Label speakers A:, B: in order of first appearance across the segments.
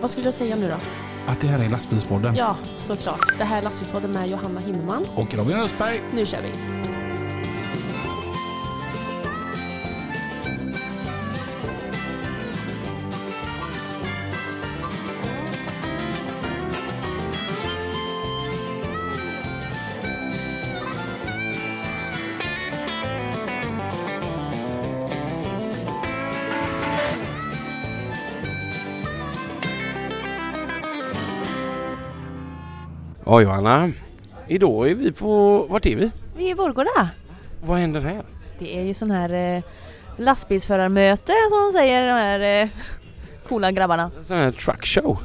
A: Vad skulle jag säga nu då?
B: Att det här är lastbilspodden.
A: Ja, såklart. Det här är Lastbilspodden med Johanna Himmelman.
B: Och Robin Östberg.
A: Nu kör vi!
B: Ja, Johanna. Idag är vi på... Vart är vi?
C: Vi är i Vårgårda.
B: Vad händer här?
C: Det är ju sån här eh, lastbilsförarmöte som de säger, de här eh, coola grabbarna.
B: En sån här truckshow.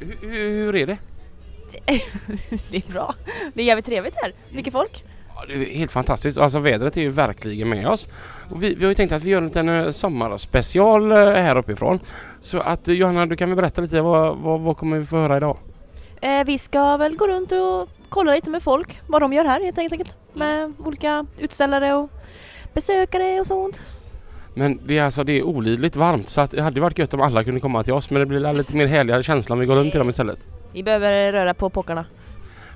B: Hur, hur, hur är det?
C: Det är bra. Det är jävligt trevligt här. Mycket folk.
B: Ja, det är helt fantastiskt. Alltså vädret är ju verkligen med oss. Och vi, vi har ju tänkt att vi gör en liten eh, sommarspecial eh, här uppifrån. Så att eh, Johanna, du kan väl berätta lite vad, vad, vad kommer vi få höra idag?
C: Eh, vi ska väl gå runt och kolla lite med folk, vad de gör här helt enkelt. Med olika utställare och besökare och sånt.
B: Men det är alltså det är olidligt varmt så att det hade varit gött om alla kunde komma till oss men det blir lite mer härligare känsla om vi går runt till dem istället.
C: Vi behöver röra på pockarna.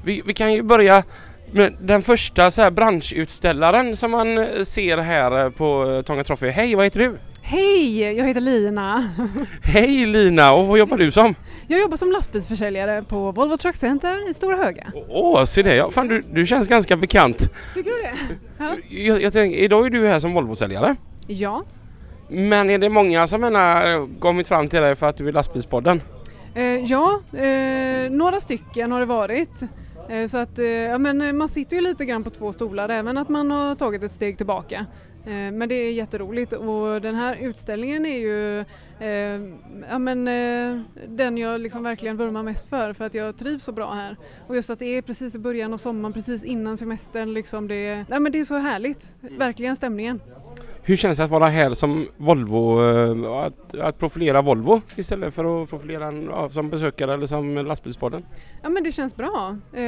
B: Vi, vi kan ju börja med den första så här branschutställaren som man eh, ser här eh, på eh, Tånga Trophy. Hej, vad heter du?
D: Hej, jag heter Lina.
B: Hej Lina! Och vad jobbar du som?
D: Jag jobbar som lastbilsförsäljare på Volvo Truck Center i Stora Höga.
B: Åh, se det! Ja, fan, du, du känns ganska bekant.
D: Tycker du det?
B: Jag, jag tänker, idag är du här som Volvo-säljare.
D: Ja.
B: Men är det många som har kommit fram till dig för att du är lastbilspodden?
D: Eh, ja, eh, några stycken har det varit. Eh, så att, eh, ja, men eh, man sitter ju lite grann på två stolar även att man har tagit ett steg tillbaka. Eh, men det är jätteroligt och den här utställningen är ju eh, ja, men, eh, den jag liksom verkligen vurmar mest för för att jag trivs så bra här. Och just att det är precis i början av sommaren, precis innan semestern. Liksom det, är- ja, men det är så härligt, verkligen stämningen.
B: Hur känns det att vara här som Volvo, eh, att, att profilera Volvo istället för att profilera en, ja, som besökare eller som lastbilspodden?
D: Ja men det känns bra. Eh,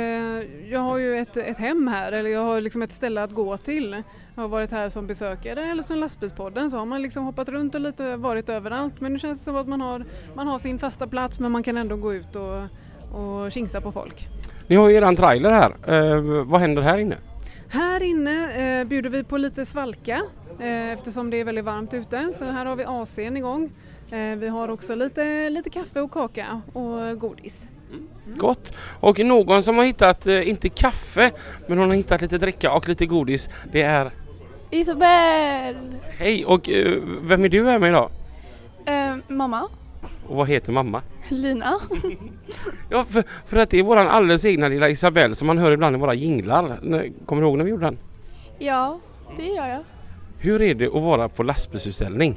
D: jag har ju ett, ett hem här, eller jag har liksom ett ställe att gå till. Jag har varit här som besökare eller som lastbilspodden så har man liksom hoppat runt och lite varit överallt men nu känns det som att man har, man har sin fasta plats men man kan ändå gå ut och, och tjingsa på folk.
B: Ni har ju eran trailer här. Eh, vad händer här inne?
D: Här inne eh, bjuder vi på lite svalka eh, eftersom det är väldigt varmt ute så här har vi AC'n igång. Eh, vi har också lite, lite kaffe och kaka och godis.
B: Gott! Och någon som har hittat, eh, inte kaffe, men hon har hittat lite dricka och lite godis. Det är
E: Isabel!
B: Hej! Och eh, vem är du här med idag?
E: Eh, mamma?
B: Och vad heter mamma?
E: Lina?
B: Ja, för, för att det är våran alldeles egna lilla Isabelle som man hör ibland i våra jinglar. När- Kommer du ihåg när vi gjorde den?
E: Ja, det gör jag.
B: Hur är det att vara på lastbilsutställning?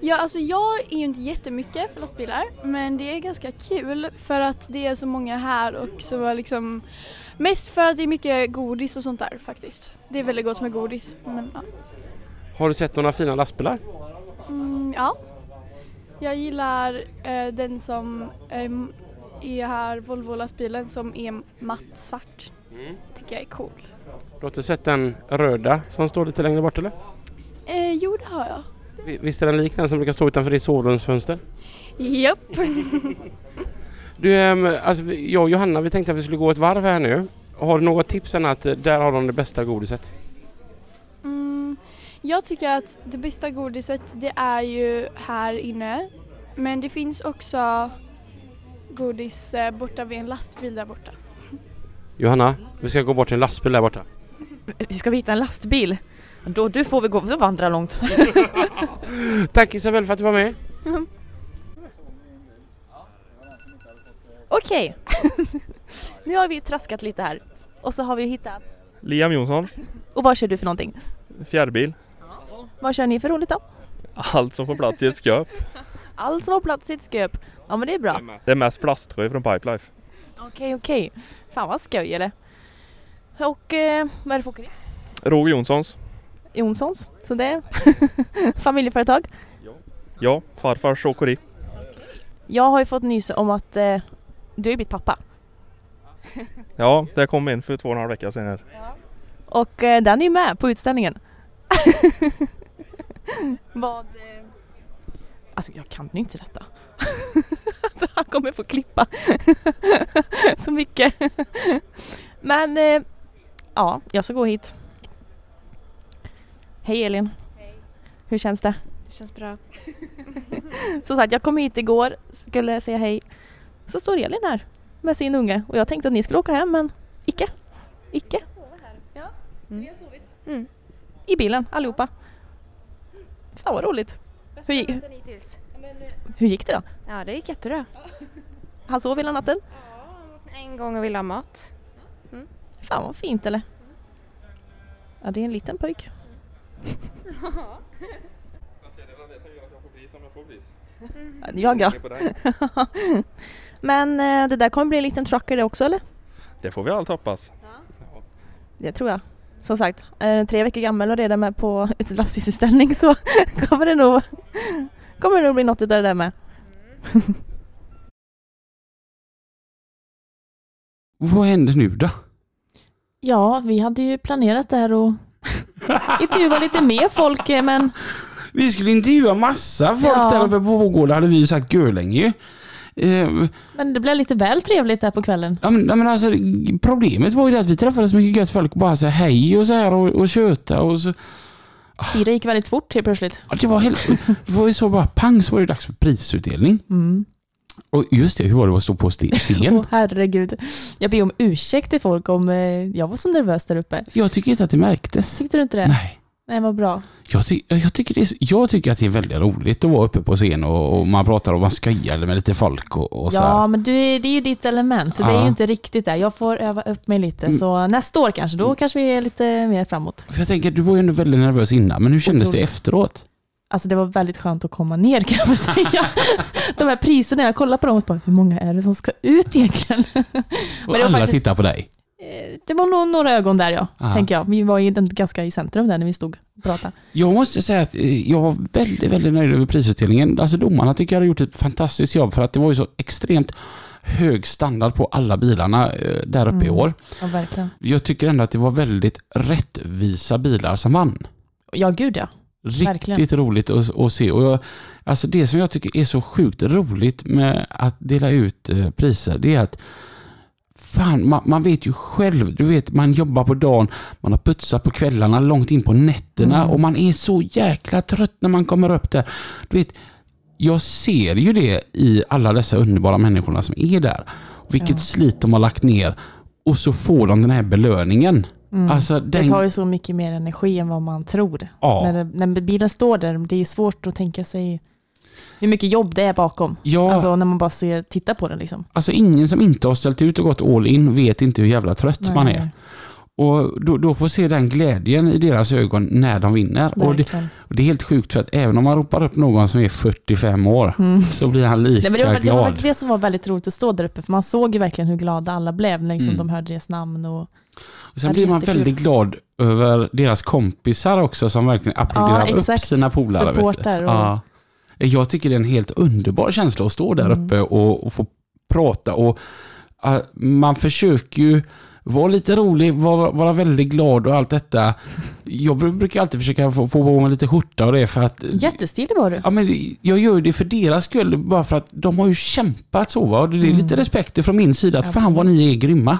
E: Ja, alltså jag är ju inte jättemycket för lastbilar, men det är ganska kul för att det är så många här och så liksom mest för att det är mycket godis och sånt där faktiskt. Det är väldigt gott med godis, men ja.
B: Har du sett några fina lastbilar?
E: Mm, ja. Jag gillar eh, den som ehm, är här, Volvo-lastbilen som är matt svart. Tycker jag är cool.
B: Du har inte sett den röda som står lite längre bort eller?
E: Eh, jo, det har jag.
B: Vi- Visst är den lik den som brukar stå utanför ditt sovrumsfönster?
E: Japp.
B: Du, ehm, alltså, vi- jag och Johanna vi tänkte att vi skulle gå ett varv här nu. Har du något tips än att eh, där har de det bästa godiset?
E: Mm, jag tycker att det bästa godiset det är ju här inne. Men det finns också godis eh, borta vid en lastbil där borta.
B: Johanna, vi ska gå bort till en lastbil där borta.
C: Vi ska hitta en lastbil. Då, du får vi gå och vandra långt.
B: Tack Isabel för att du var med.
C: Mm. Okej, nu har vi traskat lite här. Och så har vi hittat...
F: Liam Jonsson,
C: Och vad kör du för någonting?
F: fjärrbil.
C: Vad kör ni för roligt då?
F: Allt som får plats i ett sköp.
C: Allt som har plats i ett sköp. Ja men det är bra.
F: Det är mest plaströr från Pipelife.
C: Okej, okej. Fan vad skoj eller? Och eh, vad är det för åkeri?
F: Roger Jonssons.
C: Jonssons, så det är familjeföretag.
F: Ja, farfars åkeri.
C: Jag har ju fått nys om att eh, du är mitt pappa
F: Ja, det kom in för två och en halv vecka sedan här.
C: och eh, den är ju med på utställningen. vad, eh, Alltså jag kan ju inte detta. Så han kommer få klippa så mycket. Men eh, ja, jag ska gå hit. Hej Elin! Hur känns det?
G: Det känns bra.
C: Som sagt, jag kom hit igår, skulle säga hej. Så står Elin här med sin unge och jag tänkte att ni skulle åka hem men icke. Icke.
G: Mm.
C: I bilen allihopa. Fan vad roligt. Hur, gi- hur gick det då?
G: eh, Ja, det gick jättebra.
C: Han sov hela natten?
G: En gång och ville ha mat. Mm.
C: Fan vad fint eller? Ja det är en liten pojk. Jag ja. Men eh, det där kommer bli en liten trucker det också eller?
F: Det får vi allt hoppas.
C: Det tror jag. Som sagt, eh, tre veckor gammal och redan med på ett lastbilsutställning så kommer det nog, kommer det nog bli något utav det där med.
B: Vad händer nu då?
C: Ja, vi hade ju planerat det här och intervjua lite mer folk eh, men
B: Vi skulle intervjua massa folk
C: Ja.
B: där uppe på Vårgårda hade vi ju sagt görlänge ju. Eh,
C: Men det blev lite väl trevligt där på kvällen.
B: Ja men, ja, men alltså, problemet var ju det att vi träffade så mycket gött folk och bara så här hej och så här och, och köta och så. Ah.
C: Tiden gick väldigt fort typ. helt plötsligt.
B: Ja, det, var helt, det var ju så bara pang så var det dags för prisutdelning.
C: Mm.
B: Och just det, hur var det att stå på sten-
C: Åh
B: scen?
C: herregud. Jag ber om ursäkt till folk om eh, jag var så nervös där uppe.
B: Jag tycker inte att det märktes.
C: Tyckte du inte det?
B: Nej.
C: Nej, vad bra.
B: Jag, ty jag, tycker det är, jag tycker att det är väldigt roligt att vara uppe på scen och, och man pratar och man skojar med lite folk och, och så här.
C: Ja, men du, är- det är ju ditt element. Det är
B: Ja.
C: ju inte riktigt där. Jag får öva upp mig lite.
B: Mm.
C: Så nästa år kanske, då kanske vi är lite mer framåt.
B: För jag tänker, du var ju ändå väldigt nervös innan, men hur kändes det
C: Otroligt.
B: efteråt?
C: Alltså det var väldigt skönt att komma ner kan jag väl säga. De här priserna, jag kollar på dem och bara, hur många är det som ska ut egentligen?
B: Och
C: det var
B: alla
C: faktiskt-
B: tittar på dig.
C: Eh, Det var nog några ögon där ja,
B: Ja.
C: tänker jag. Vi var ju den- ganska i centrum där när vi stod och pratade.
B: Jag måste säga att eh, jag var väldigt, väldigt nöjd över prisutdelningen. Alltså domarna tycker jag har gjort ett fantastiskt jobb för att det var ju så extremt hög standard på alla bilarna eh, där uppe i
C: Mm.
B: år.
C: Ja, verkligen.
B: Jag tycker ändå att det var väldigt rättvisa bilar som vann.
C: Ja, gud ja.
B: Riktigt
C: Verkligen.
B: roligt att, att se. Och jag, alltså det som jag tycker är så sjukt roligt med att dela ut eh, priser, det är att Fan, man, man vet ju själv. Du vet, man jobbar på dagen, man har putsat på kvällarna, långt in på nätterna
C: Mm.
B: och man är så jäkla trött när man kommer upp där. Du vet, jag ser ju det i alla dessa underbara människorna som är där. Vilket
C: Ja.
B: slit de har lagt ner och så får de den här belöningen.
C: Mm.
B: Alltså, den,
C: Det tar ju så mycket mer energi än vad man tror.
B: ja.
C: När, det- när bilen står där, det är ju svårt att tänka sig hur mycket jobb det är bakom.
B: ja.
C: Alltså när man bara ser, tittar på den liksom.
B: Alltså ingen som inte har ställt ut och gått all in vet inte hur jävla trött man är. Och då, då får se den glädjen i deras ögon när de vinner. Och det,
C: Verkligen.
B: och det är helt sjukt för att även om man ropar upp någon som är 45 år
C: Mm.
B: så blir han lika
C: Nej, men det, var, det var
B: glad.
C: faktiskt det som var väldigt roligt att stå där uppe, för man såg ju verkligen hur glada alla blev när liksom
B: Mm.
C: de hörde deras namn. Och,
B: Och sen
C: ja, det
B: blir
C: är
B: man
C: jättekul.
B: väldigt glad över deras kompisar också som verkligen applåderar upp
C: exakt.
B: sina polare. vet du.
C: Supportar och-
B: Ja. Jag tycker det är en helt underbar känsla att stå där
C: Mm.
B: uppe och, och få prata. Och, äh, man försöker ju vara lite rolig, vara, vara väldigt glad och allt detta. Jag bru- brukar alltid försöka få, få på mig lite skjorta och det för att
C: jättestilig var du.
B: Ja, men det- jag gör ju det för deras skull, bara för att de har ju kämpat så. Va? Och det är
C: Mm.
B: lite respekt från min sida, att fan vad ni är grymma.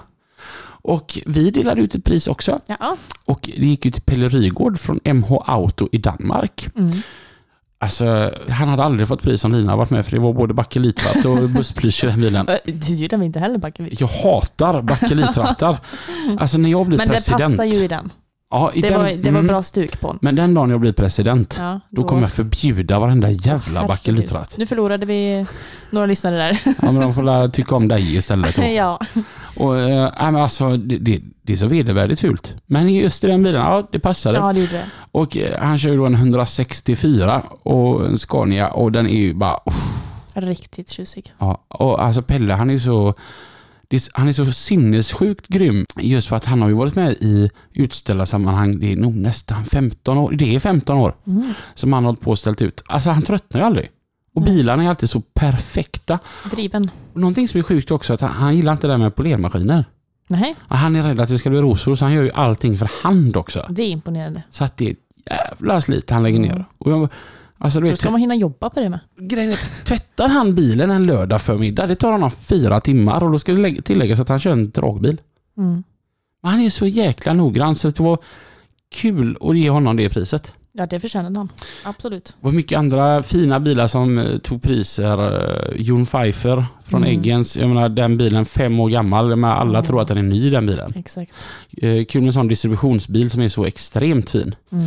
B: Och vi delade ut ett pris också.
C: Ja.
B: Och det gick ju till Pelle Rygård från MH Auto i Danmark.
C: Mm.
B: Alltså, han hade aldrig fått pris om Lina hade varit med, för det var både bakelitvatt och bussplysch i den bilen.
C: Ö, Det gillar vi inte heller Backevik.
B: Jag hatar bakelitrattar. Alltså när jag blir
C: Men det
B: president.
C: passar ju i den.
B: ja, i
C: Det,
B: den-
C: var, det var
B: mm.
C: bra stuk på den.
B: Men den dagen jag blir president,
C: Ja,
B: då kommer jag förbjuda varenda jävla
C: Herregud.
B: bakelitratt.
C: Nu förlorade vi några lyssnare där.
B: Ja, men de får lära tycka om dig istället. då.
C: ja.
B: Och, eh, nej, men alltså, det, det, det är så vedervärdigt fult. Men just i den bilen, ja det passade.
C: ja, det gjorde det.
B: Och eh, han kör ju då en 164 och en Scania och den är ju bara... uff,
C: Riktigt tjusig.
B: ja. Och alltså Pelle han är ju så... det är- Han är så sinnessjukt grym just för att han har ju varit med i utställarsammanhang, det är nog nästan 15 år, det är 15 år
C: Mm.
B: som han har hållit på och ställt ut. Alltså han tröttnar ju aldrig. Och
C: Nej.
B: bilarna är alltid så perfekta.
C: Driven.
B: Och någonting som är sjukt också är att han, han gillar inte det där med polermaskiner.
C: Nej,
B: Han är rädd att det ska bli rosor så han gör ju allting för hand också.
C: det är imponerande.
B: Så att det är ett jävla slit han lägger ner.
C: Mm.
B: Och jag, Alltså du
C: Då
B: vet,
C: ska man hinna jobba på det med.
B: grejen är, tvättar han bilen en lördag förmiddag, det tar honom fyra timmar och då ska det lä- tilläggas att han kör en dragbil.
C: Mm.
B: Men han är så jäkla noggrann så det var kul att ge honom det priset.
C: Ja, det förtjänade han. Absolut.
B: Det var mycket andra fina bilar som eh, tog priser. Eh, Jon Pfeiffer från
C: Mm.
B: Eggens. Jag menar den bilen fem år gammal. Men alla
C: Mm.
B: tror att den är ny den bilen.
C: Exakt.
B: Eh, kul med en sån distributionsbil som är så extremt fin.
C: Mm.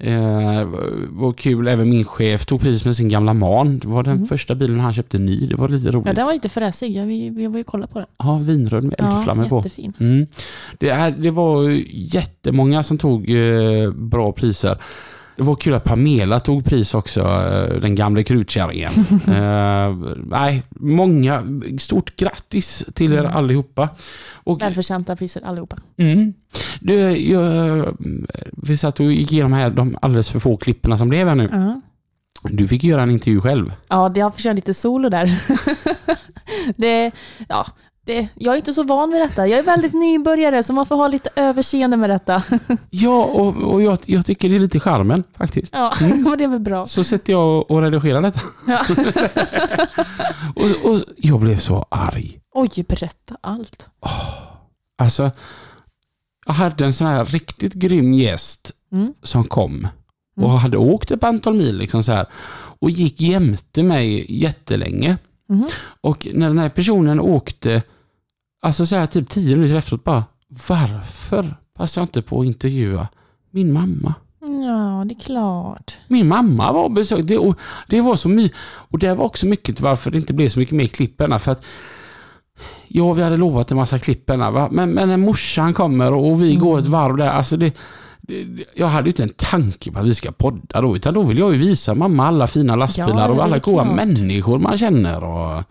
B: Eh, var kul, även min chef tog pris med sin gamla man. Det var den
C: Mm.
B: första bilen han köpte ny. Det var lite roligt.
C: Ja, den var lite fräsig. Jag, vi- jag var ju kolla på den.
B: Ja, vinröd med eldflammor
C: ja,
B: på.
C: jättefin.
B: Mm. Det, är, det var ju jättemånga som tog eh, bra priser. Det var kul att Pamela tog pris också, eh, den gamla krutkärringen. eh, nej, många. Stort grattis till er
C: Mm.
B: allihopa. Och,
C: Välförtjänta priser allihopa.
B: mm, du, jag, vi satt och gick igenom här de alldeles för få klipporna som blev här nu.
C: Ja.
B: Du fick göra en intervju själv.
C: Ja, det har försökt lite solo där. det, ja, det, jag är inte så van vid detta. Jag är väldigt nybörjare så man får ha lite överseende med detta.
B: Ja, och, och jag, jag tycker det är lite charmen faktiskt. Mm.
C: Ja, men det är väl bra.
B: Så sitter jag och redigerar detta.
C: Ja.
B: Och, och jag blev så arg.
C: Oj, berätta allt.
B: Alltså, jag hade en sån här riktigt grym gäst
C: Mm.
B: som kom och
C: Mm.
B: hade åkt ett antal mil liksom så här, och gick jämte mig jättelänge.
C: Mhm.
B: Och när den här personen åkte, alltså så här typ tio minuter efteråt bara, varför passade jag inte på att intervjua min mamma?
C: Ja, det är klart.
B: Min mamma var besökt. Det, och det var så mycket. Och det var också mycket till varför det inte blev så mycket mer klipp än här, för att Ja, vi hade lovat en massa klipp än här, va? men, men när morsan kommer och vi
C: Mm.
B: går ett varv där, alltså det, det, det- jag hade ju inte en tanke på att vi ska podda då, utan då vill jag ju visa mamma alla fina lastbilar
C: Ja, det är
B: och alla
C: väl
B: goa
C: klart.
B: människor man känner. Och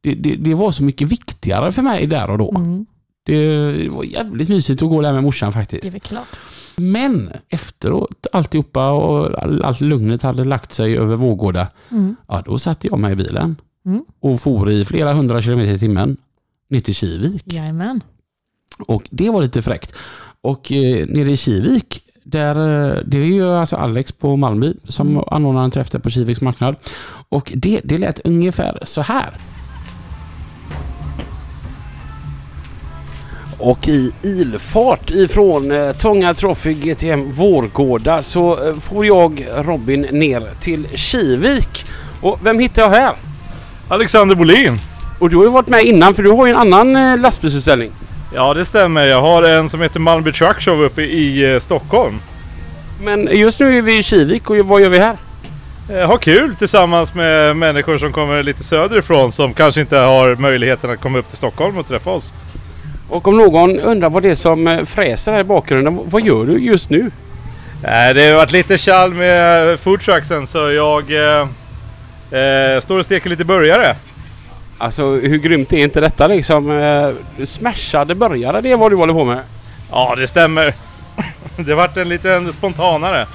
B: det, det, det var så mycket viktigare för mig där och då.
C: Mm,
B: Det, det var jävligt mysigt att gå där med morsan faktiskt.
C: det är väl klart.
B: Men efteråt, alltihopa och all- allt lugnet hade lagt sig över Vårgårda,
C: Mm.
B: ja då satte jag mig i bilen
C: Mm.
B: och for i flera hundra kilometer i timmen ner till Kivik.
C: Jajamän.
B: Och det var lite fräckt. Och eh, nere i Kivik, där, eh, det är ju alltså Alex på Malmby som
C: Mm.
B: anordnar en träff där på Kiviks marknad. Och det, det lät ungefär så här. Och i ilfart ifrån eh, Tånga Trophy GTM Vårgårda så eh, får jag Robin ner till Kivik. Och vem hittar jag här?
H: Alexander Bolin.
B: Och du har ju varit med innan för du har ju en annan eh, lastbilsutställning.
H: Ja det stämmer. Jag har en som heter Malmby Truck Show uppe i eh, Stockholm.
B: Men just nu är vi i Kivik och vad gör vi här?
H: Eh, ha kul tillsammans med människor som kommer lite söderifrån som kanske inte har möjligheten att komma upp till Stockholm och träffa oss.
B: Och om någon undrar vad det är som eh, fräser här i bakgrunden, vad gör du just nu?
H: Nej, det har varit lite tjall med foodtrucksen så jag eh, eh, står och steker lite burgare.
B: Alltså hur grymt är inte detta liksom? Eh, Smashade började det är vad du håller på med?
H: Ja det stämmer. Det vart en liten spontanare.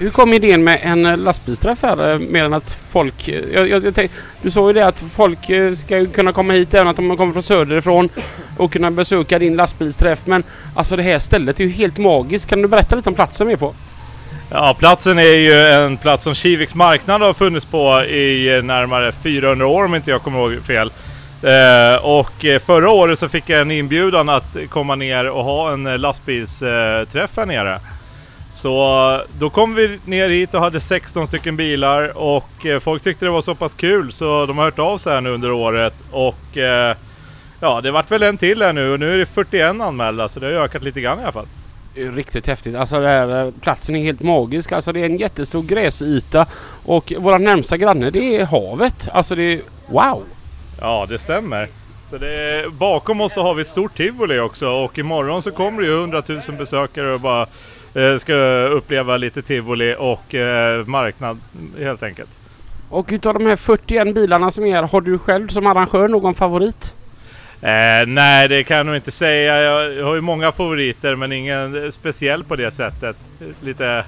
B: Hur kom idén med en eh, lastbilsträff här eh, mer än att folk... eh, Jag, jag, jag tänk, du sa ju det att folk eh, ska ju kunna komma hit även att de kommer från söderifrån och kunna besöka din lastbilsträff. Men alltså det här stället är ju helt magiskt. Kan du berätta lite om platsen vi är på?
H: Ja, platsen är ju en plats som Kiviks marknad har funnits på i närmare 400 år om inte jag kommer ihåg fel. Eh, och eh, förra året så fick jag en inbjudan att komma ner och ha en eh, lastbilsträff här nere. Så eh, då kom vi ner hit och hade 16 stycken bilar och eh, folk tyckte det var så pass kul så de har hört av sig här nu under året och eh, ja, det vart väl en till här nu och nu är det 41 anmälda så det har ju ökat lite grann i alla fall.
B: Det är Riktigt häftigt. Alltså den här eh, platsen är helt magisk. Alltså det är en jättestor gräsyta och våra närmsta granne det är havet. Alltså det är wow!
H: Ja, det stämmer. Så det, bakom oss så har vi ett stort tivoli också och imorgon så kommer det ju 100 000 besökare och bara eh, ska uppleva lite tivoli och eh, marknad helt enkelt.
B: Och utav de här 41 bilarna som är här, har du själv som arrangör någon favorit?
H: Eh, nej, det kan jag nog inte säga. Jag, jag har ju många favoriter men ingen speciell på det sättet. Lite...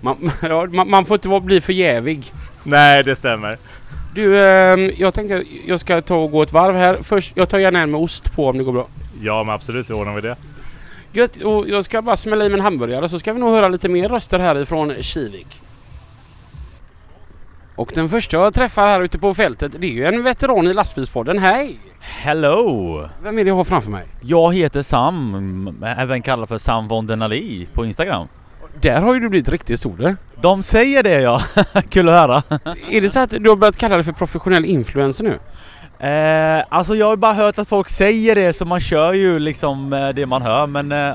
B: Man, ja, man, man får inte vara, bli för jävig.
H: Nej, det stämmer.
B: Du, ehm, jag tänkte jag ska ta och gå ett varv här. Först, jag tar gärna en med ost på om det går bra.
H: Ja, men absolut, hur ordnar vi det?
B: Gött, och jag ska bara smälla i mig en hamburgare så ska vi nog höra lite mer röster härifrån Kivik. Och den första jag träffar här ute på fältet det är ju en veteran i lastbilspodden. Hej!
I: Hello!
B: Vem är det jag har framför mig?
I: Jag heter Sam, m- även kallad för Sam von den Ali på Instagram.
B: Där har ju du blivit riktigt stor du.
I: De säger det ja! Kul att höra!
B: Är det så att du har börjat kalla dig för professionell influencer nu?
I: Eh, alltså jag har ju bara hört att folk säger det så man kör ju liksom eh, det man hör men eh,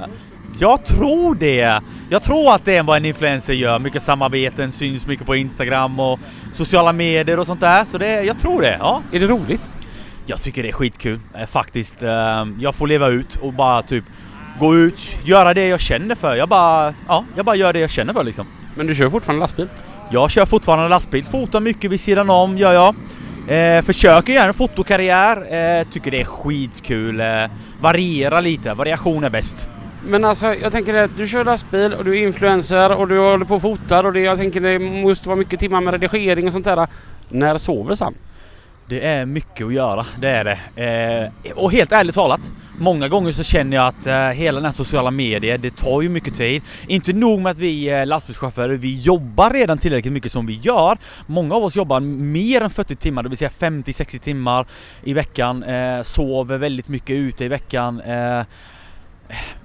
I: jag tror det! Jag tror att det är vad en influencer gör. Mycket samarbeten, syns mycket på Instagram och sociala medier och sånt där. Så det, jag tror det, ja.
B: Är det roligt?
I: Jag tycker det är skitkul eh, faktiskt. Eh, jag får leva ut och bara typ gå ut, göra det jag känner för. Jag bara, ja, jag bara gör det jag känner för liksom.
B: Men du kör fortfarande lastbil?
I: Jag kör fortfarande lastbil, fotar mycket vid sidan om gör jag. Eh, försöker göra en fotokarriär, eh, tycker det är skitkul. Eh, variera lite, variation är bäst.
B: Men alltså jag tänker att du kör lastbil och du är influencer och du håller på och fotar och det, jag tänker det måste vara mycket timmar med redigering och sånt där. När sover Sam?
I: Det är mycket att göra, det är det. Eh, och helt ärligt talat, många gånger så känner jag att eh, hela den här sociala medier, det tar ju mycket tid. Inte nog med att vi eh, lastbilschaufförer, vi jobbar redan tillräckligt mycket som vi gör. Många av oss jobbar mer än 40 timmar, det vill säga 50-60 timmar i veckan. Eh, sover väldigt mycket ute i veckan. Eh,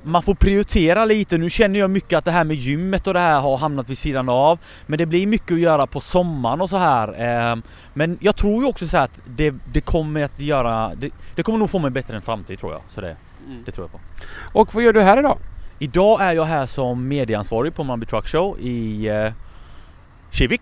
I: man får prioritera lite. Nu känner jag mycket att det här med gymmet och det här har hamnat vid sidan av. Men det blir mycket att göra på sommaren och så här. Eh, men jag tror ju också så här att det, det kommer att göra... Det, det kommer nog få mig bättre en framtid tror jag. Så det, det tror jag på.
B: Och vad gör du här idag?
I: Idag är jag här som medieansvarig på Manby Truck Show i eh, Kivik.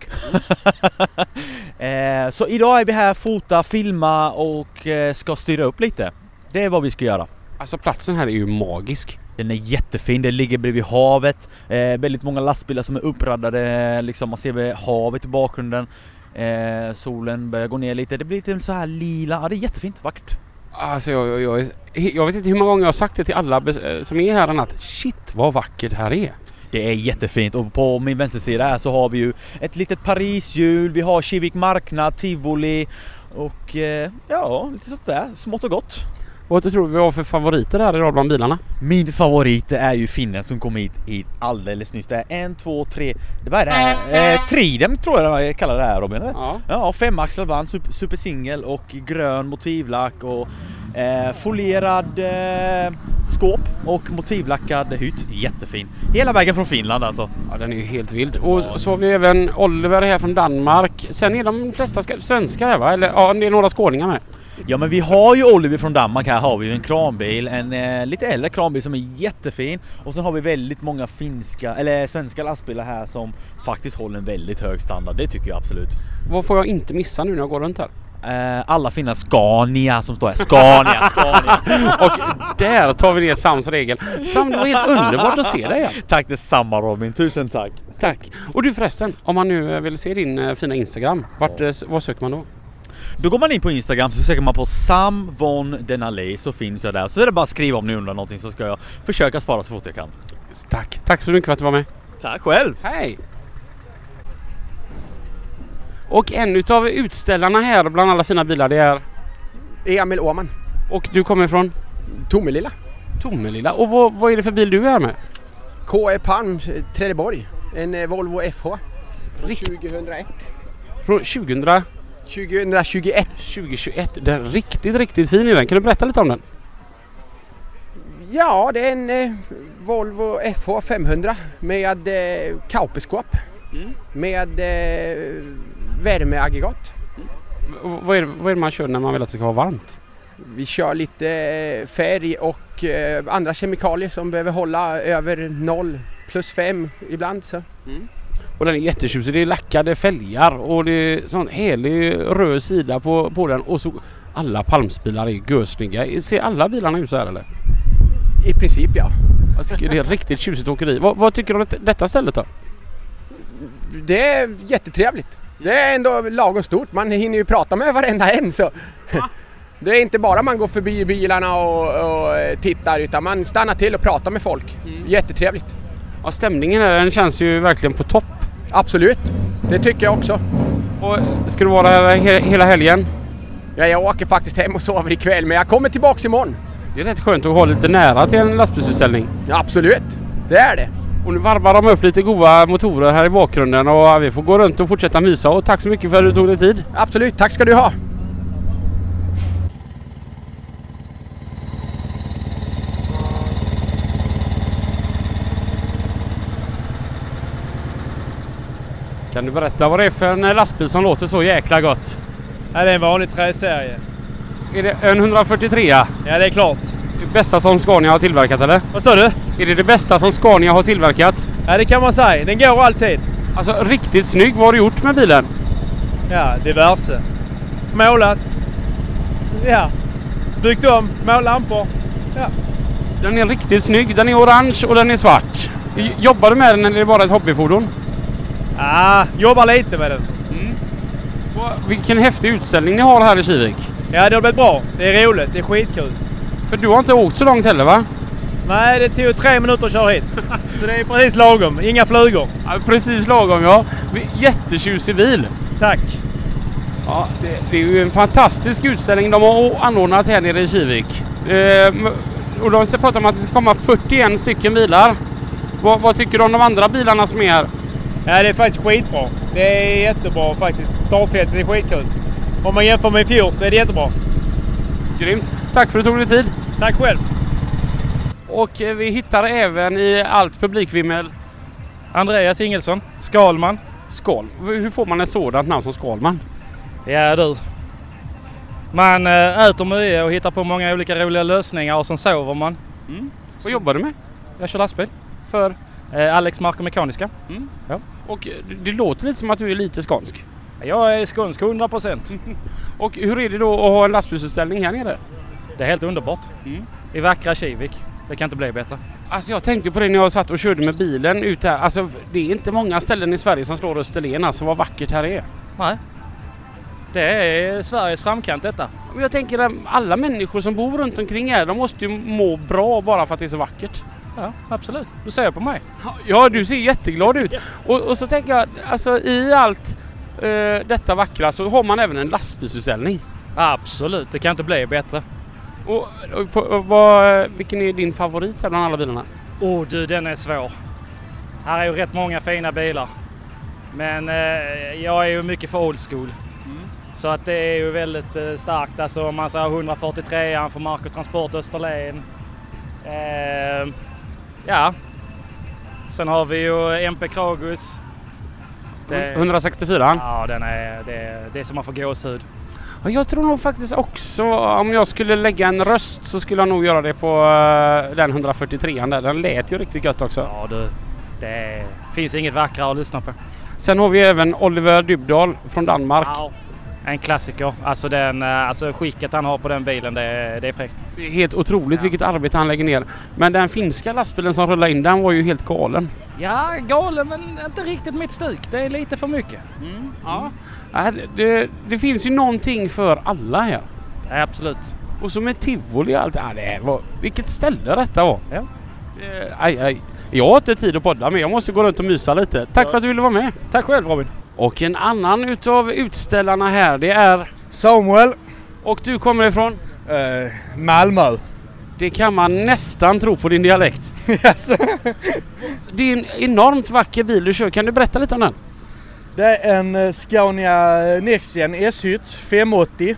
I: eh, så idag är vi här, fota, filma och eh, ska styra upp lite. Det är vad vi ska göra.
B: Alltså platsen här är ju magisk.
I: Den är jättefin, den ligger bredvid havet. Eh, väldigt många lastbilar som är uppraddade, liksom, man ser väl havet i bakgrunden. Eh, solen börjar gå ner lite, det blir lite så här lila. Ja, det är jättefint, vackert.
B: Alltså jag, jag, jag, är- jag vet inte hur många gånger jag har sagt det till alla bes- eh, som är här att shit vad vackert här är.
I: Det är jättefint och på min vänstersida här så har vi ju ett litet Parishjul, vi har Kivik marknad, tivoli och eh, ja, lite sånt där smått och gott.
B: Vad tror du vi har för favoriter här idag bland bilarna?
I: Min favorit det är ju finnen som kom hit, hit alldeles nyss. Det är en, två, tre, det- vad är det här? Eh, Tridem tror jag man kallar det här Robin eller?
B: Ja.
I: Ja, femaxlad vann, super, supersingel och grön motivlack och eh, folierad eh, skåp och motivlackad hytt. Jättefin. Hela vägen från Finland alltså.
B: ja, den är ju helt vild. Och så har vi även Oliver här från Danmark. Sen är de flesta ska- svenskar här va? Eller ja, det är några skåningar med.
I: Ja men vi har ju Oliver från Danmark här har vi ju en kranbil, en eh, lite äldre kranbil som är jättefin och sen har vi väldigt många finska eller svenska lastbilar här som faktiskt håller en väldigt hög standard. Det tycker jag absolut.
B: Vad får jag inte missa nu när jag går runt här?
I: Eh, alla fina Scania som står här. Scania, Scania.
B: Och där tar vi ner Sams regel. Sam, det var helt underbart att se dig här.
I: Tack detsamma Robin, tusen tack.
B: Tack. Och du förresten, om man nu eh, vill se din eh, fina Instagram, vart, eh, s- vad söker man då?
I: Då går man in på Instagram så söker man på Sam von Denali så finns jag där. Så är det bara att skriva om ni undrar någonting så ska jag försöka svara så fort jag kan.
B: Tack. Tack så mycket för att du var med.
I: Tack själv!
B: Hej! Och en utav utställarna här bland alla fina bilar det är...
J: Emil Åman,
B: Och du kommer från
J: Tomelilla,
B: Tomelilla. Och vad, vad är det för bil du är här med?
J: KE Palm, eh, Trelleborg. En eh, Volvo FH. Från
B: Rikt-
J: 2001.
B: Från 2000,
J: 2021.
B: 2021. Den är riktigt, riktigt fin är den. Kan du berätta lite om den?
J: Ja, det är en eh, Volvo FH 500 med eh, kaupeskåp. Med eh, värmeaggregat.
B: V- vad, är det, vad är det man kör när man vill att det ska vara varmt?
J: Vi kör lite eh, färg och eh, andra kemikalier som behöver hålla över noll plus fem ibland. Så.
B: Och den är jättetjusig. Det är lackade fälgar och det är sån härlig röd sida på, på den. Och så alla palmsbilar är görsnygga. Ser alla bilarna ut så här eller?
J: I princip ja.
B: Jag tycker det är riktigt tjusigt åkeri. Vad, vad tycker du om det- detta stället då?
J: Det är jättetrevligt. Det är ändå lagom stort. Man hinner ju prata med varenda en. Så. Det är inte bara man går förbi bilarna och, och eh, tittar utan man stannar till och pratar med folk. Jättetrevligt.
B: Ja, stämningen här den känns ju verkligen på topp.
J: Absolut. Det tycker jag också.
B: Och ska du vara här he- hela helgen?
J: Ja, jag åker faktiskt hem och sover ikväll men jag kommer tillbaks imorgon.
B: Det är rätt skönt att ha lite nära till en lastbilsutställning.
J: Absolut. Det är det.
B: Och nu varvar de upp lite goda motorer här i bakgrunden och vi får gå runt och fortsätta mysa. Och tack så mycket för att du tog dig tid.
J: Absolut, tack ska du ha.
B: Kan du berätta vad det är för en lastbil som låter så jäkla gott?
K: Ja, det är en vanlig träserie.
B: Är det en 143? Ja,
K: det är klart.
B: Det bästa som Scania har tillverkat eller?
K: Vad sa du?
B: Är det det bästa som Scania har tillverkat?
K: Ja, det kan man säga. Den går alltid.
B: Alltså riktigt snygg. Vad har du gjort med bilen?
K: Ja, diverse. Målat. Ja. Byggt om. Målat lampor. Ja.
B: Den är riktigt snygg. Den är orange och den är svart. J- Jobbar du med den eller är det bara ett hobbyfordon? Mm.
K: Ah, jobbar lite med den.
B: Vilken häftig utställning ni har här i Kivik.
K: Ja, det har blivit bra. Det är roligt. Det är skitkul.
B: För du har inte åkt så långt heller va?
K: Nej, det tog tre minuter att köra hit. Så det är precis lagom. Inga flugor.
B: precis lagom ja. Jättetjusig bil.
K: Tack.
B: Ja, det, det är ju en fantastisk utställning de har o- anordnat här nere i Kivik. Ehm, och de ska- pratar om att det ska komma 41 stycken bilar. Vad, vad tycker du om de andra bilarna som är här?
K: Ja, det är faktiskt skitbra. Det är jättebra faktiskt. Startfältet är skitkul. Om man jämför med i fjol så är det jättebra.
B: Grymt. Tack för att du tog dig tid.
K: Tack själv.
B: Och eh, vi hittar även i allt publikvimmel
L: Andreas Ingelsson, Skalman.
B: Skal. Hur får man ett sådant namn som Skalman?
L: Ja du. Man eh, äter mycket och hittar på många olika roliga lösningar och sen sover man.
B: Mm. Vad jobbar du med?
L: Jag kör lastbil. För? Eh, Alex Marko Mekaniska. Ja.
B: Mm. Och eh, det låter lite som att du är lite skånsk.
L: Jag är skånsk 100 procent.
B: och hur är det då att ha en lastbilsutställning här nere? Mm.
L: Det är helt underbart. I vackra Kivik. Det kan inte bli bättre.
B: Alltså jag tänkte på det när jag satt och körde med bilen ut här. Alltså det är inte många ställen i Sverige som slår Österlen. Alltså vad vackert här är.
L: Nej. Det är Sveriges framkant detta.
B: Men jag tänker att alla människor som bor runt omkring här, de måste ju må bra bara för att det är så vackert.
L: Ja, absolut. Du ser på mig.
B: Ja, du ser jätteglad ut. Och, och så tänker jag, alltså i allt eh, detta vackra så har man även en lastbilsutställning.
L: Absolut, det kan inte bli bättre.
B: Och, och, få- och vad, eh, vilken är din favorit här bland alla bilarna?
L: Åh du, den är svår. Här är ju rätt många fina bilar. Men eh, jag är ju mycket för old school. Så att det är ju väldigt eh, starkt. Alltså om man säger 143an för Mark och Transport Österlen. Eh, ja. Sen har vi ju MP Kragus. Det-
B: 164?
L: Ja, den är, det, det är som man får gåshud.
B: Ja, Jag tror nog faktiskt också, om jag skulle lägga en röst så skulle jag nog göra det på eh, den 143an där. Den lät ju riktigt gött också.
L: Ja du, det finns inget vackrare att lyssna på.
B: Sen har vi även Oliver Dybdahl från Danmark.
L: Ja, en klassiker. Alltså, den, eh, alltså skicket han har på den bilen, det, är- det är fräckt.
B: Det är helt otroligt vilket arbete han lägger ner. Men den finska lastbilen som rullade in, den var ju helt galen.
L: Ja, galen men inte riktigt mitt stuk. Det är lite för mycket.
B: Ja. Ja, det- Äh, Det, det finns ju någonting för alla här.
L: absolut.
B: Och så med tivoli och allt. Ja, det var, vilket ställe detta var. Äh,
L: Ja.
B: Aj, aj. Jag har inte tid att podda men jag måste gå runt och mysa lite. Tack för att du ville vara med.
L: Tack själv Robin.
B: Och en annan utav utställarna här det är
M: Samuel. Eh,
B: Och du kommer ifrån?
M: Malmö.
B: Det kan man nästan tro på din dialekt. det är en enormt vacker bil du kör. Kan du berätta lite om den?
M: Det är en eh, Scania Nextgen S-hytt 580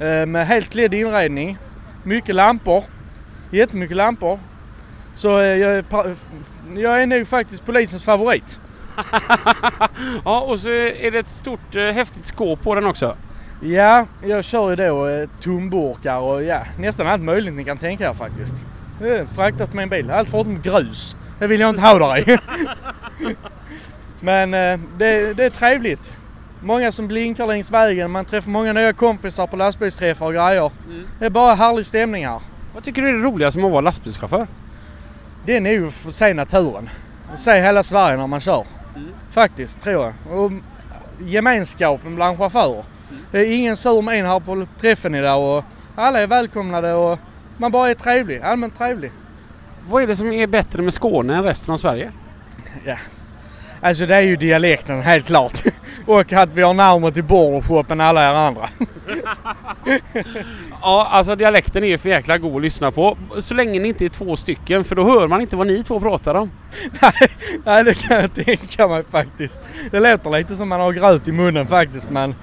M: eh, med helt LED inredning. Mycket lampor. Jättemycket lampor. Så eh, jag är, pa- f- f- jag är nog faktiskt polisens favorit.
B: Ja, och så är det ett stort eh, häftigt skåp på den också.
M: Ja, jag kör ju då eh, tomburkar och ja, nästan allt möjligt ni kan tänka er faktiskt. Jag har fraktat med en bil, allt förutom grus. Det vill jag inte ha där i. Men eh, det, det är trevligt. Många som blinkar längs vägen, man träffar många nya kompisar på lastbilsträffar och grejer. Det är bara härlig stämning här.
B: Mm. Vad tycker du är det roligaste med att vara lastbilschaufför?
M: Det är nog att få se naturen. Och se hela Sverige när man kör.
B: Mm.
M: Faktiskt, tror jag. Och gemenskapen bland chaufförer. Det är Eh, ingen sur min här på träffen idag och alla är välkomnade och man bara är trevlig, allmänt trevlig.
B: Vad är det som är bättre med Skåne än resten av Sverige?
M: Alltså det är ju dialekten helt klart. Och att vi har närmare till bordershop än alla er andra.
I: Ja, alltså dialekten är ju för jäkla god att lyssna på. Så länge ni inte är två stycken, för då hör man inte vad ni två pratar om.
M: Nej, det kan jag tänka mig faktiskt. Det låter lite som man har gröt i munnen faktiskt men...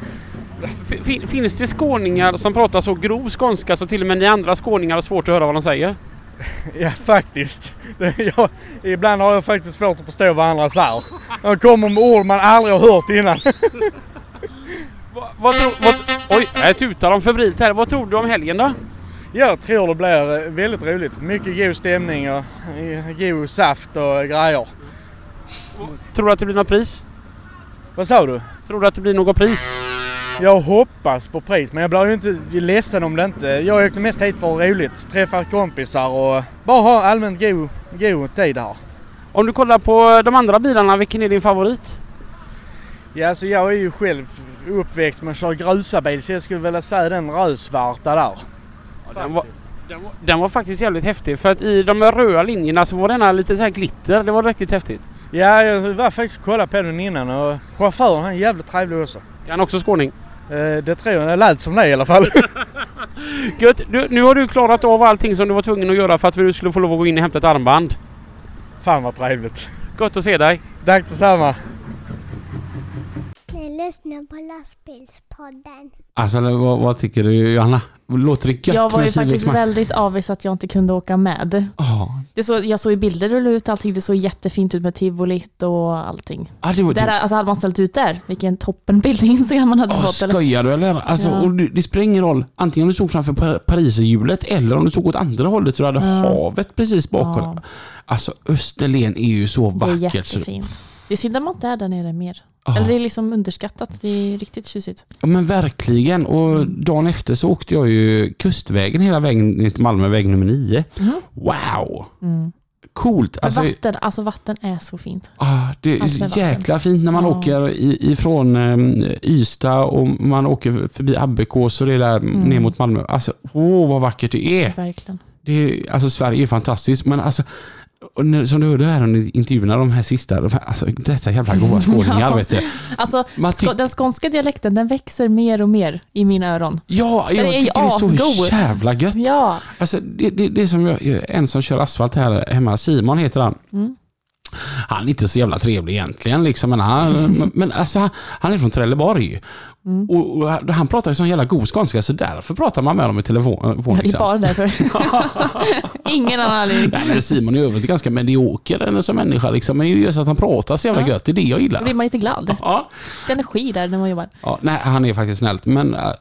I: Fi- fi- Finns det skåningar som pratar så grov skånska så till och med ni andra skåningar har svårt att höra vad de säger?
M: Ja, faktiskt. Det, jag, ibland har jag faktiskt svårt att förstå vad andra säger. De kommer med ord man aldrig har hört innan.
I: Vad tror... Vad, oj, jag tutar om febrilt här. Vad tror du om helgen då?
M: Jag tror det blir eh, väldigt roligt. Mycket god stämning och eh, god saft och grejer.
I: Tror du att det blir något pris?
M: Vad sa du?
I: Tror du att det blir något pris?
M: Jag hoppas på pris men jag blir ju inte ledsen om det inte... Jag åkte mest hit för att ha roligt. Träffa kompisar och bara ha allmänt god, god tid här.
I: Om du kollar på de andra bilarna, vilken är din favorit?
M: Ja, alltså jag är ju själv uppväxt med att köra grusabil så jag skulle vilja säga den rödsvarta där.
I: den, var, den, var, den var faktiskt jävligt häftig för att i de röda linjerna så var den här lite så här glitter. Det var riktigt häftigt.
M: Ja, jag var faktiskt och kollade på den innan och chauffören han är jävligt trevlig också. Eh,
I: Är han också skåning?
M: det tror jag. Det lät som det i alla fall.
I: Gött! Du, nu har du klarat av allting som du var tvungen att göra för att du skulle få lov att gå in och hämta ett armband.
M: Fan vad trevligt!
I: Gott att se dig!
M: Tack detsamma!
N: Ni lyssnar på lastbilspodden.
B: Alltså vad, vad tycker du Johanna? Låter det gött
C: Jag var
B: med
C: ju faktiskt
B: Kiviksmark?
C: väldigt avis att jag inte kunde åka med.
B: Ja.
C: Det så, jag såg ju bilder du la ut allting, det såg jättefint ut med tivolit och allting.
B: Ja, Ah, det var-
C: där,
B: det-
C: alltså, hade man ställt ut där, vilken toppenbild i Instagram man hade
B: Åh,
C: fått. Eller?
B: skojar du eller? Alltså,
C: Ja.
B: och det, det spelar ingen roll antingen om du stod framför Par- Pariserhjulet eller om du stod åt andra hållet så du hade
C: Ja.
B: havet precis bakom
C: Ja.
B: dig. Alltså Österlen är ju så
C: Det är
B: vackert. så- Ah.
C: jättefint. Det är synd att man inte är där nere mer.
B: Ja.
C: Eller det är liksom underskattat, det är riktigt tjusigt.
B: Ja men verkligen. Och
C: Mm.
B: dagen efter så åkte jag ju kustvägen hela vägen ner till Malmö, väg nummer nio.
C: Mhm.
B: Wow!
C: Mm.
B: Coolt!
C: Men
B: Alltså,
C: vatten, alltså vatten är så fint.
B: ah, det är
C: Allt
B: så
C: med vatten.
B: jäkla fint när man
C: Ja.
B: åker i- ifrån um, Ystad och man åker förbi Abbekås och det där ner mot Malmö. Alltså, åh vad vackert det är!
C: Mm. Verkligen.
B: Det är alltså Sverige är fantastiskt, men alltså och när, som du hörde här under intervjuerna, de här sista, de här, alltså dessa jävla goa skåningar
C: Ja.
B: vet du.
C: Alltså,
B: Man
C: sko-
B: tyck-
C: den skånska dialekten den växer mer och mer i mina öron.
B: Ja,
C: Den
B: jag
C: är ju
B: tycker det är så
C: asgod.
B: jävla gött.
C: Ja.
B: Alltså, det, det, det är som jag, en som kör asfalt här hemma, Simon heter han.
C: Mm.
B: Han är inte så jävla trevlig egentligen, liksom, men, han, men alltså, han, han är från Trelleborg.
C: Mm.
B: Och, och han han pratar ju sån jävla god skånska, så därför pratar man med honom i telefon.
C: Det är
B: liksom.
C: bara därför. Ingen annan anledning.
B: Nej, men Simon är i övrigt ganska medioker eller som människa, liksom, men det är ju så att han pratar så jävla
C: Ja.
B: gött, det är det jag
C: Då blir
B: gillar.
C: man lite glad.
B: Ja.
C: Det är energi där när man jobbar.
B: Ja, nej, han är faktiskt snällt, men äh,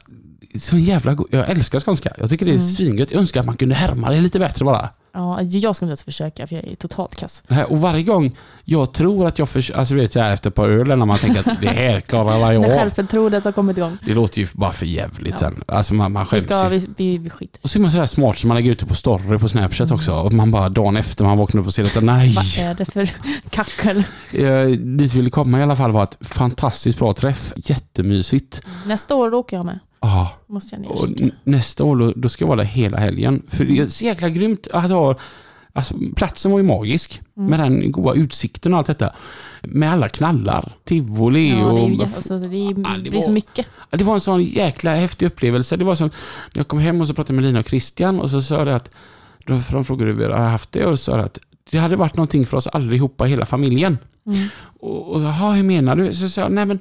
B: så jävla go- Jag älskar skånska. Jag tycker det är
C: Mm.
B: svingött. Jag önskar att man kunde härma det lite bättre bara.
C: Ja, jag skulle inte ens försöka för jag är totalt kass.
B: Det här- Och varje gång jag tror att jag förs- alltså du vet så här efter ett par öl när man tänker att det här klarar
C: När
B: jag av.
C: självförtroendet har kommit igång.
B: Det låter ju bara för jävligt
C: Ja.
B: sen. Alltså man, man
C: Vi,
B: skäms
C: ska,
B: ju.
C: vi, vi, vi skiter
B: Och så är man sådär smart som man lägger ut det på story på Snapchat
C: Mm.
B: också. Och man bara dagen efter man vaknar upp och ser att nej.
C: Vad är det för kackel?
B: Eh, dit vi ville komma i alla fall var ett fantastiskt bra träff. Jättemysigt.
C: Nästa år då åker jag med.
B: Ja.
C: Måste jag ner och
B: Och
C: kika.
B: n- nästa år, då, då ska jag vara där hela helgen. För det är så jäkla grymt att ha... Alltså, platsen var ju magisk
C: Mm.
B: med den goda utsikten och allt detta. Med alla knallar, tivoli
C: Ja, det, är
B: och...
C: ju, jä- alltså, det, är, det är så
B: var-
C: mycket.
B: Ja, Det var en sån jäkla häftig upplevelse. Det var som när jag kom hem och så pratade jag med Lina och Christian och så sa jag det att, de för de frågade hur vi hade haft det och så sa jag att det hade varit någonting för oss allihopa, hela familjen.
C: Mm.
B: Och, och jaha, hur menar du? Så sa jag, nej men,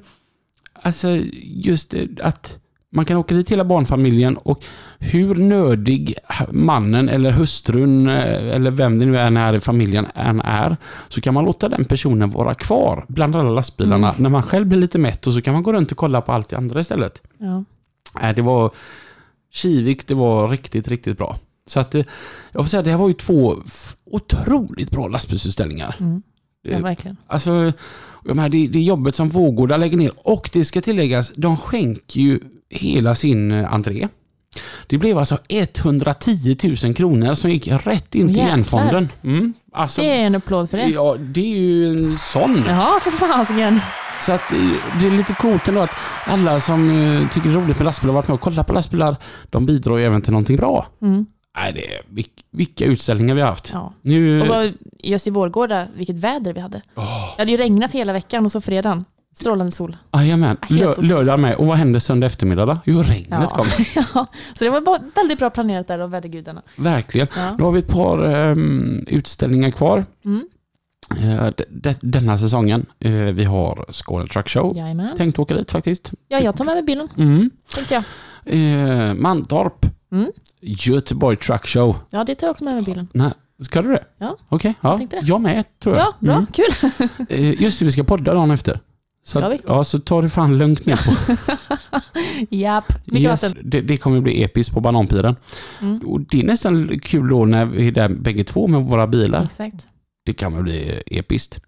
B: alltså just det, att man kan åka dit hela barnfamiljen och hur nödig mannen eller hustrun eh, eller vem det nu är när i familjen än är så kan man låta den personen vara kvar bland alla lastbilarna
C: Mm.
B: när man själv blir lite mätt och så kan man gå runt och kolla på allt det andra istället.
C: Ja.
B: Nej, det var Kivik, det var riktigt, riktigt bra. Så att det, jag får säga, det här var ju två f- otroligt bra lastbilsutställningar.
C: Mm. Ja,
B: Eh,
C: verkligen.
B: Alltså, jag menar, det, det är jobbet som Vårgårda lägger ner och det ska tilläggas, de skänker ju hela sin eh, entré. Det blev alltså 110 000 kronor som gick rätt in till
C: Jäklar.
B: järnfonden. Mm. Alltså,
C: det är en applåd för det.
B: Ja, det är ju en sån.
C: Ja, för fasiken.
B: Så att eh, det är lite coolt ändå att alla som eh, tycker det är roligt med lastbilar och varit med och kollat på lastbilar, de bidrar ju även till någonting bra.
C: Mm.
B: Nej, det är, vilk, vilka utställningar vi har haft.
C: Ja.
B: Nu,
C: Och så, just i Vårgårda, vilket väder vi hade. Det hade ju regnat hela veckan och så fredagen. Strålande sol.
B: Jajamän,
C: Ah, Helt
B: Lö-
C: otroligt.
B: lördag med. Och vad händer söndag eftermiddag då? Jo, regnet
C: Ja.
B: kommer.
C: ja. Så det var ba- väldigt bra planerat där av vädergudarna.
B: Verkligen.
C: Ja.
B: Nu har vi ett par ehm, utställningar kvar
C: Mm.
B: eh, de- de- denna säsongen. Eh, vi har Skåne Truck Show.
C: Jajamän.
B: Tänkt åka dit faktiskt.
C: Ja, jag tar med mig bilen,
B: Mm.
C: tänkte jag.
B: Eh, Mantorp.
C: Mm.
B: Göteborg Truck Show.
C: Ja, det tar jag också med mig bilen.
B: Nej, ska du det?
C: Ja,
B: Okej,
C: jag
B: ja.
C: tänkte det.
B: jag med tror jag.
C: Ja, bra,
B: Mm.
C: kul.
B: Eh, Just det, vi ska podda dagen efter. Så,
C: Ska
B: att-
C: vi?
B: Ja, så tar du fan lugnt ner på
C: Japp, mycket
B: Yes,
C: vatten.
B: det, det kommer bli episkt på Bananpiren.
C: Mm.
B: Och det är nästan kul då när vi är där bägge två med våra bilar.
C: Exakt.
B: Det kan väl bli episkt.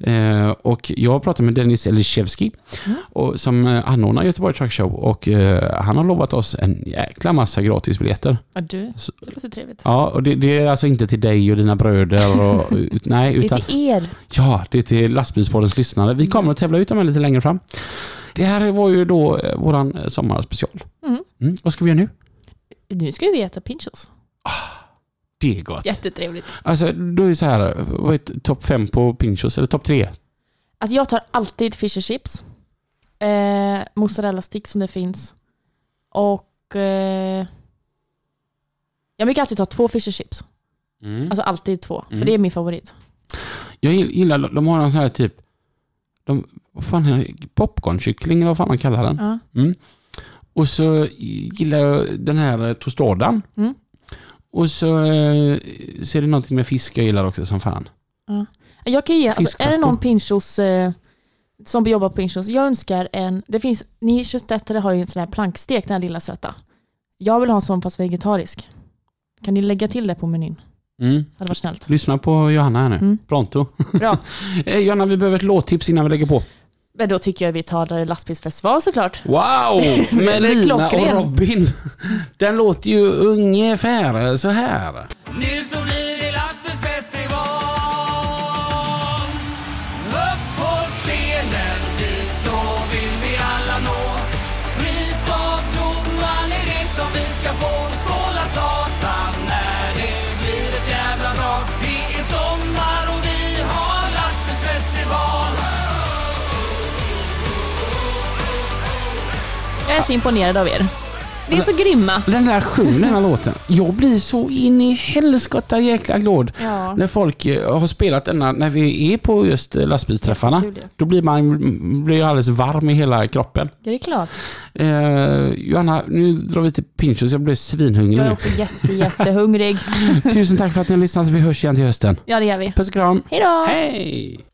B: Eh, och jag har pratat med Dennis Elishevski
C: Mm.
B: och som eh, anordnar Göteborg Truck Show och eh, han har lovat oss en jäkla massa gratisbiljetter.
C: Ja, du.
B: Så-
C: Det låter trevligt.
B: Ja, och det, det är alltså inte till dig och dina bröder och ut, nej,
C: Det är
B: utan...
C: till er.
B: Ja, det är till lastbilspoddens lyssnare. Vi kommer att tävla ut dem här lite längre fram. Det här var ju då eh, våran eh, sommarspecial.
C: Mm.
B: Mm. Vad ska vi göra nu?
C: Nu ska vi äta pinchos.
B: Det är gott.
C: Jättetrevligt.
B: Alltså, då är det så här, vad är det, topp fem på Pinchos, eller topp tre?
C: Alltså jag tar alltid fish and chips, eh, mozzarella sticks som det finns och eh, jag brukar alltid ta två fish and chips.
B: Mm.
C: Alltså alltid två, för
B: Mm.
C: det är min favorit.
B: Jag gill- gillar, de har en sån här typ, de, vad fan är det, popcornkyckling eller vad fan man kallar den.
C: Ja.
B: Mm. Och så gillar jag den här eh, tostadan.
C: Mm.
B: Och så, eh, så är det någonting med fisk jag gillar också som fan.
C: Ja. Jag kan ge, alltså, är det
B: Fisktaco.
C: någon pinchos eh, som jobbar på pinchos, jag önskar en, det finns, ni köttätare har ju en sån här plankstek, den här lilla söta. Jag vill ha en sån fast vegetarisk. Kan ni lägga till det på menyn?
B: Mm.
C: Hade varit snällt.
B: Lyssna på Johanna här nu.
C: Mm.
B: Pronto.
C: Bra.
B: Eh, Johanna, vi behöver ett låttips innan vi lägger på.
C: Men då tycker jag vi tar lastbilsfestival såklart.
B: Wow!
C: Det är
B: Med Lina och
C: klockren.
B: Robin. Den låter ju ungefär så här.
O: Nu så blir det lastbilsfestival Upp på scenen, dit så vill vi alla nå Pris av trodman är det som vi ska få Skåla satan när det blir ett jävla drag Det är sommar och vi har lastbilsfestival
C: Jag är så imponerad av er. Ni är så grymma.
B: Den där sjunger den här låten. Jag blir så in i helskotta jäkla glad
C: Ja.
B: när folk eh, har spelat denna, när vi är på just eh, lastbilsträffarna.
C: Jättekul ju.
B: Då blir man blir jag alldeles varm i hela kroppen.
C: Det är klart.
B: Eh, Johanna, nu drar vi till Pinchos. Jag blev svinhungrig
C: Jag är
B: nu.
C: också jätte, jättehungrig.
B: Tusen tack för att ni har lyssnat. så Vi hörs igen till hösten.
C: ja, det gör vi.
B: Puss och kram.
C: Hej då!
B: Hej!